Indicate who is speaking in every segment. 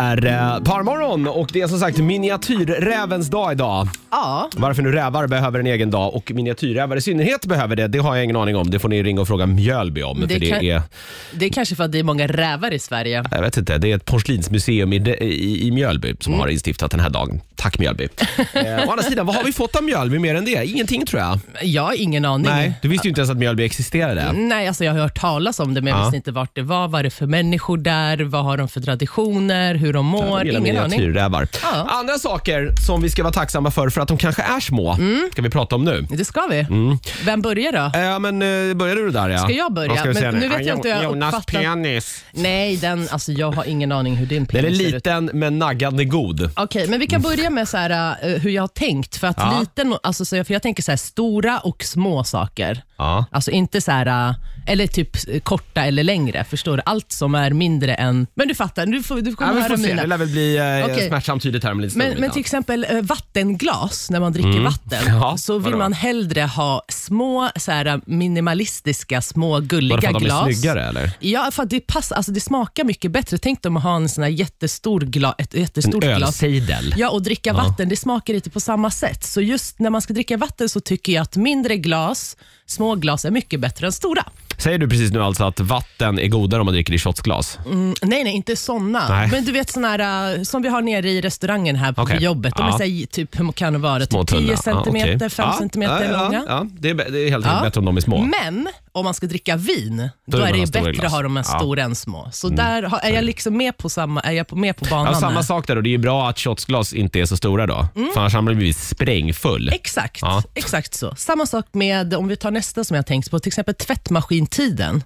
Speaker 1: är eh, parmorgon och det är som sagt miniatyrrävens dag idag.
Speaker 2: Ja,
Speaker 1: Varför nu rävar behöver en egen dag och miniatyrrävar i synnerhet behöver det, det har jag ingen aning om. Det får ni ringa och fråga Mjölby om.
Speaker 2: Det
Speaker 1: för det
Speaker 2: kan-
Speaker 1: är,
Speaker 2: det är kanske för att det är många rävar i Sverige.
Speaker 1: jag vet inte, det är ett porslinsmuseum i, i, i Mjölby som
Speaker 2: Mm.
Speaker 1: har instiftat den här dagen. Tack Mjölby. eh, å andra sidan, vad har vi fått av Mjölby mer än det? Ingenting tror jag.
Speaker 2: Jag har ingen aning.
Speaker 1: Nej, du visste ju inte ens att Mjölby existerade.
Speaker 2: Nej, alltså jag har hört talas om det, men jag
Speaker 1: Ja.
Speaker 2: visste inte vart det var, vad är det för människor där, vad har de för traditioner, hur de mår,
Speaker 1: gillar
Speaker 2: ingen aning.
Speaker 1: miniatyrrävar.
Speaker 2: Ja.
Speaker 1: Andra saker som vi ska vara tacksamma för, för att de kanske är små,
Speaker 2: Mm.
Speaker 1: ska vi prata om nu.
Speaker 2: Det ska vi.
Speaker 1: Mm.
Speaker 2: Vem börjar då?
Speaker 1: Ja, men eh, börjar du där ja.
Speaker 2: Ska jag börja?
Speaker 1: Vad ska vi
Speaker 2: Men
Speaker 1: säga
Speaker 2: nu vet jag inte hur jag
Speaker 1: Jonas
Speaker 2: uppfattar-
Speaker 1: penis.
Speaker 2: Nej, den, alltså jag har ingen aning hur din
Speaker 1: Den är
Speaker 2: penis ser ut.
Speaker 1: liten men naggande god.
Speaker 2: Okej, men vi kan börja med så här, eh, hur jag har tänkt. För, att
Speaker 1: Ja.
Speaker 2: liten, alltså, så jag, för jag tänker så här, stora och små saker.
Speaker 1: Ja.
Speaker 2: Alltså inte så här, eh, eller typ eh, korta eller längre. Förstår du? Allt som är mindre än... Men du fattar, du får, du kommer
Speaker 1: Ja, vi får
Speaker 2: höra
Speaker 1: se,
Speaker 2: mina.
Speaker 1: det lär väl bli eh,
Speaker 2: Okej.
Speaker 1: smärtsamt tydligt här om en liten
Speaker 2: Men,
Speaker 1: stund,
Speaker 2: men
Speaker 1: Britta.
Speaker 2: till exempel eh, vattenglas, när man dricker vatten,
Speaker 1: Mm. Ja,
Speaker 2: så vill
Speaker 1: vadå?
Speaker 2: man hellre ha små, så här, eh, minimalistiska, små gulliga
Speaker 1: Bara för att de är
Speaker 2: glas.
Speaker 1: snyggare eller?
Speaker 2: Ja, för att det, pass, alltså det smakar mycket bättre. Tänk dig om att ha en sån här jättestor gla, ett jättestort glas.
Speaker 1: ölsejdel.
Speaker 2: Ja, och dricka vatten, det smakar inte på samma sätt. Så just när man ska dricka vatten så tycker jag att mindre glas, små glas är mycket bättre än stora.
Speaker 1: Säger du precis nu alltså att vatten är godare om man dricker i shotsglas?
Speaker 2: Mm, nej, nej, inte såna.
Speaker 1: Nej.
Speaker 2: Men du vet såna här, äh, som vi har nere i restaurangen här på
Speaker 1: Okej.
Speaker 2: jobbet. De är
Speaker 1: Ja.
Speaker 2: så här, typ, hur kan det vara?
Speaker 1: Små
Speaker 2: Typ 10
Speaker 1: tunna.
Speaker 2: centimeter,
Speaker 1: okej.
Speaker 2: 5 centimeter
Speaker 1: ja,
Speaker 2: långa.
Speaker 1: Ja, ja. Det, är, bä- det är helt enkelt
Speaker 2: Ja.
Speaker 1: bättre om de är små.
Speaker 2: Men om man ska dricka vin, då,
Speaker 1: vill
Speaker 2: är
Speaker 1: man
Speaker 2: det
Speaker 1: ha
Speaker 2: ju
Speaker 1: stora
Speaker 2: bättre
Speaker 1: glas.
Speaker 2: att ha dem än
Speaker 1: Ja. Mm.
Speaker 2: stora än små. Så där har, är jag liksom med på, samma, är jag på- med på banan
Speaker 1: Ja, samma
Speaker 2: här.
Speaker 1: sak där och det är ju bra att shotsglas inte är så stora då.
Speaker 2: Mm.
Speaker 1: För annars hade man blivit sprängfull.
Speaker 2: Exakt,
Speaker 1: Ja.
Speaker 2: exakt så. Samma sak med, om vi tar nästa som jag har tänkt på, till exempel tvättmaskintiden.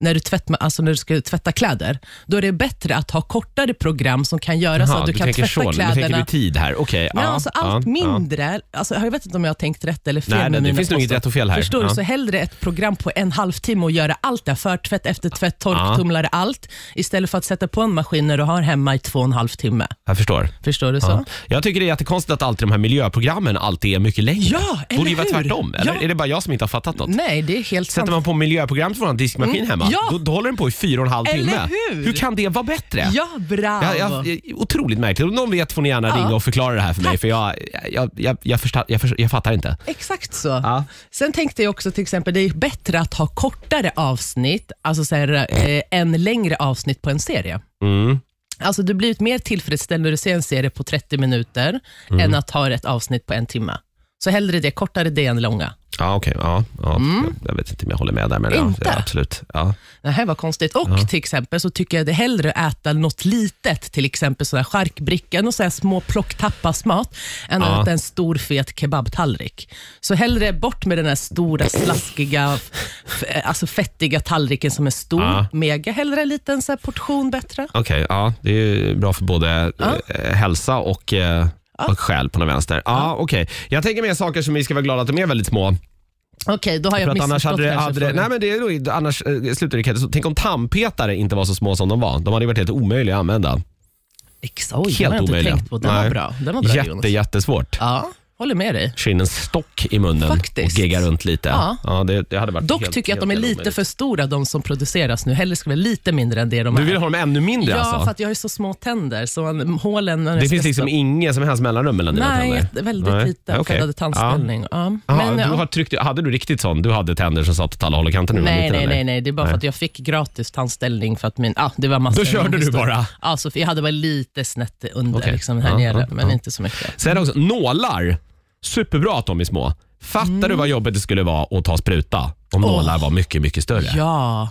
Speaker 2: När du, tvättma, alltså när du ska tvätta kläder, då är det bättre att ha kortare program som kan göra så
Speaker 1: Jaha,
Speaker 2: att alltså. du, kan
Speaker 1: tänker
Speaker 2: tvätta
Speaker 1: så. Nu tänker
Speaker 2: kläderna.
Speaker 1: du tid här. Okej.
Speaker 2: Nej,
Speaker 1: ja,
Speaker 2: alltså
Speaker 1: ja,
Speaker 2: allt
Speaker 1: ja.
Speaker 2: mindre. Alltså, jag vet inte om jag har tänkt rätt eller fel.
Speaker 1: Nej, nej,
Speaker 2: med
Speaker 1: det
Speaker 2: mina
Speaker 1: finns nog inget
Speaker 2: påståenden.
Speaker 1: rätt och fel här.
Speaker 2: Förstår
Speaker 1: Ja.
Speaker 2: du? Så hellre ett program på en halvtimme och göra allt där. Förtvätt, eftertvätt, torktumlare, allt. Istället för att sätta på en maskin när du har hemma i två och en halv timme.
Speaker 1: Jag förstår.
Speaker 2: Förstår du så?
Speaker 1: Ja. Jag tycker det är jättekonstigt att alltid de här miljöprogrammen alltid är mycket längre.
Speaker 2: Ja, eller
Speaker 1: Borde ju vara
Speaker 2: hur?
Speaker 1: tvärtom. Eller
Speaker 2: Ja.
Speaker 1: är det bara jag som inte har fattat något?
Speaker 2: Nej, det är helt sant. Mm,
Speaker 1: Sätter man på miljöprogram till vår diskmaskin hemma,
Speaker 2: Ja.
Speaker 1: då, då håller den på i fyra och en halv
Speaker 2: Eller
Speaker 1: timme.
Speaker 2: hur?
Speaker 1: kan det vara bättre?
Speaker 2: Ja, bravo.
Speaker 1: Ja, ja, otroligt märkligt. Om någon vet får ni gärna
Speaker 2: Ja.
Speaker 1: ringa och förklara det här för mig,
Speaker 2: Tack.
Speaker 1: för jag, jag, jag, jag, första, jag, förs- jag fattar inte.
Speaker 2: Exakt så.
Speaker 1: Ja.
Speaker 2: Sen tänkte jag också till exempel, det är bättre att ha kortare avsnitt, alltså så här, eh, än längre avsnitt på en serie.
Speaker 1: Mm.
Speaker 2: Alltså du blir mer tillfredsställd när du ser en serie på 30 minuter,
Speaker 1: Mm.
Speaker 2: än att ha ett avsnitt på en timme. Så hellre det, kortare det än långa.
Speaker 1: Ja, okej. Ja, ja. Jag, jag vet inte om jag håller med där, men ja,
Speaker 2: Mm. Inte?
Speaker 1: ja, absolut. Ja.
Speaker 2: Det här var konstigt. Och till exempel så tycker jag det hellre äta något litet, till exempel sådana här charkbrickan och så här små plock-tapasmat, än
Speaker 1: Ja.
Speaker 2: att äta en stor fet kebabtallrik. Så hellre bort med den här stora, slaskiga, f- eh, alltså fettiga tallriken som är stor,
Speaker 1: Ja.
Speaker 2: mega. Hellre en liten så här portion bättre.
Speaker 1: Okej, ja, det är ju bra för både eh, hälsa och, eh, och själ på den vänster. Ja, okej. Jag tänker mer saker som vi ska vara glada att de är väldigt små.
Speaker 2: Okej, då har
Speaker 1: För
Speaker 2: jag
Speaker 1: att annars
Speaker 2: missförstått
Speaker 1: hade det,
Speaker 2: kanske
Speaker 1: hade det,
Speaker 2: frågan.
Speaker 1: nej men det är nog, annars eh, slutar det så Tänk om tandpetare inte var så små som de var. De hade ju varit helt omöjliga att använda.
Speaker 2: Ex- Oj, den
Speaker 1: helt
Speaker 2: har jag inte
Speaker 1: omöjliga.
Speaker 2: tänkt på. Den var
Speaker 1: Nej.
Speaker 2: bra. Den var bra Jonas.
Speaker 1: Jätte, jättesvårt.
Speaker 2: Ja, håller med dig.
Speaker 1: Skinnen stock i munnen
Speaker 2: Faktiskt.
Speaker 1: och gegga runt lite.
Speaker 2: Ja.
Speaker 1: det, det hade varit
Speaker 2: Dock
Speaker 1: helt,
Speaker 2: tycker jag att de är
Speaker 1: helt
Speaker 2: lite
Speaker 1: omöjligt.
Speaker 2: för stora, de som produceras nu. Hellre ska vi vara lite mindre än det de
Speaker 1: Du
Speaker 2: är.
Speaker 1: vill ha dem ännu mindre
Speaker 2: Ja,
Speaker 1: alltså?
Speaker 2: för att jag har ju så små tänder. Så man, hålen när jag
Speaker 1: Det
Speaker 2: ska
Speaker 1: finns liksom
Speaker 2: stoppa-
Speaker 1: inget som helst mellanrum mellan dina
Speaker 2: Nej,
Speaker 1: tänder?
Speaker 2: ett- väldigt liten.
Speaker 1: okej.
Speaker 2: För jag hade tandställning. Ja.
Speaker 1: Ja. Aha,
Speaker 2: Men,
Speaker 1: du
Speaker 2: ja.
Speaker 1: har tryckt, hade du riktigt sån? Du hade tänder som satt åt alla håll och kanter nu? när du var
Speaker 2: Nej,
Speaker 1: liten,
Speaker 2: nej,
Speaker 1: eller?
Speaker 2: nej, nej. Det är bara för att jag fick gratis tandställning för att min... Ah, det var massor
Speaker 1: Då körde
Speaker 2: av
Speaker 1: du
Speaker 2: historia.
Speaker 1: bara?
Speaker 2: Alltså, för jag hade bara lite snett under
Speaker 1: Okej.
Speaker 2: liksom, här
Speaker 1: Ja,
Speaker 2: nere,
Speaker 1: ja,
Speaker 2: men
Speaker 1: ja.
Speaker 2: inte så mycket.
Speaker 1: Sen också, nålar. Superbra att de är små. Fattar du vad jobbet det skulle vara att ta spruta om
Speaker 2: Mm. Åh.
Speaker 1: nålar var mycket, mycket större? Ja.
Speaker 2: Ja.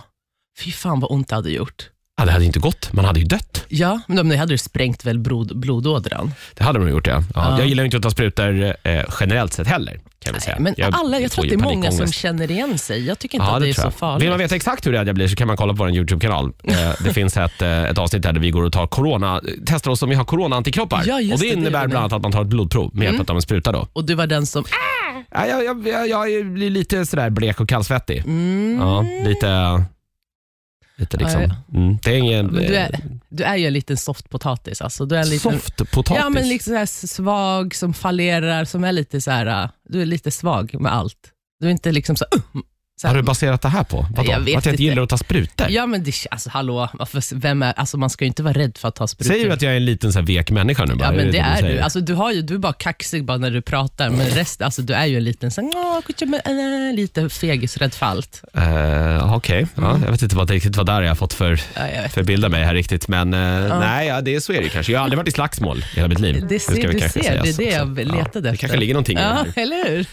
Speaker 2: Fy fan vad ont det hade gjort.
Speaker 1: det hade ju inte gått. Man hade ju dött.
Speaker 2: Ja, men de- det hade ju sprängt väl blod, blodådran.
Speaker 1: Det hade de gjort, ja. ja. Jag gillar ju inte att ta sprutor eh, generellt sett heller. Kan vi säga.
Speaker 2: Men
Speaker 1: jag
Speaker 2: alla, jag
Speaker 1: får
Speaker 2: tror att det
Speaker 1: ju
Speaker 2: är många som
Speaker 1: panikångest.
Speaker 2: känner igen sig. Jag tycker inte
Speaker 1: Ja,
Speaker 2: att det,
Speaker 1: det
Speaker 2: är
Speaker 1: tror
Speaker 2: så
Speaker 1: jag. Vill
Speaker 2: farligt.
Speaker 1: man veta exakt hur rädd jag blir så kan man kolla på vår YouTube-kanal. Eh, Det finns ett, eh, ett avsnitt där vi går och tar corona, testar oss om vi har corona-antikroppar.
Speaker 2: Ja, just
Speaker 1: och det,
Speaker 2: det, det
Speaker 1: innebär
Speaker 2: gör vi. Mm.
Speaker 1: bland annat att man tar ett blodprov med hjälp av en spruta. Då.
Speaker 2: Och du var den som...
Speaker 1: Ja, Jag, jag, jag, jag blir lite sådär blek och kallsvettig. Ja,
Speaker 2: Mm.
Speaker 1: lite... Lite liksom.
Speaker 2: Ja,
Speaker 1: Mm, det är ingen...
Speaker 2: Men du,
Speaker 1: eh,
Speaker 2: är, du är ju en liten softpotatis. Alltså. Du är en liten,
Speaker 1: Softpotatis.
Speaker 2: Ja, men liksom så här svag äh, som fallerar, som är lite så här, uh, du är lite svag med allt. Du är inte liksom så, uh, Så
Speaker 1: Har
Speaker 2: här,
Speaker 1: du baserat det här på? Vadå?
Speaker 2: Jag vet
Speaker 1: att jag inte
Speaker 2: inte.
Speaker 1: gillar att ta sprutor?
Speaker 2: Ja, men det, alltså hallå, varför, vem är, alltså, man ska ju inte vara rädd för att ta sprutor.
Speaker 1: Säger du att jag är en liten så här vek människa nu? Bara?
Speaker 2: Ja, men det är
Speaker 1: säger?
Speaker 2: du. Alltså, du, har ju, du är bara kaxig bara när du pratar, men resten, alltså, du är ju en liten sån, "Åh, kutscha, men, äh", lite fegisrädd för allt. Alltså-
Speaker 1: Eh, Okej,
Speaker 2: Mm.
Speaker 1: ja, jag vet inte vad, riktigt vad där jag har fått för,
Speaker 2: Ja, jag vet.
Speaker 1: för bild av mig här riktigt. Men eh, nej, ja, det, är- så är det ju kanske. Jag har aldrig varit i slagsmål i hela mitt liv.
Speaker 2: Det ser,
Speaker 1: ska vi
Speaker 2: du
Speaker 1: kanske
Speaker 2: ser, det är
Speaker 1: sägas
Speaker 2: det jag
Speaker 1: också.
Speaker 2: letade efter.
Speaker 1: Det kanske ligger någonting i det
Speaker 2: Ja,
Speaker 1: här.
Speaker 2: eller hur?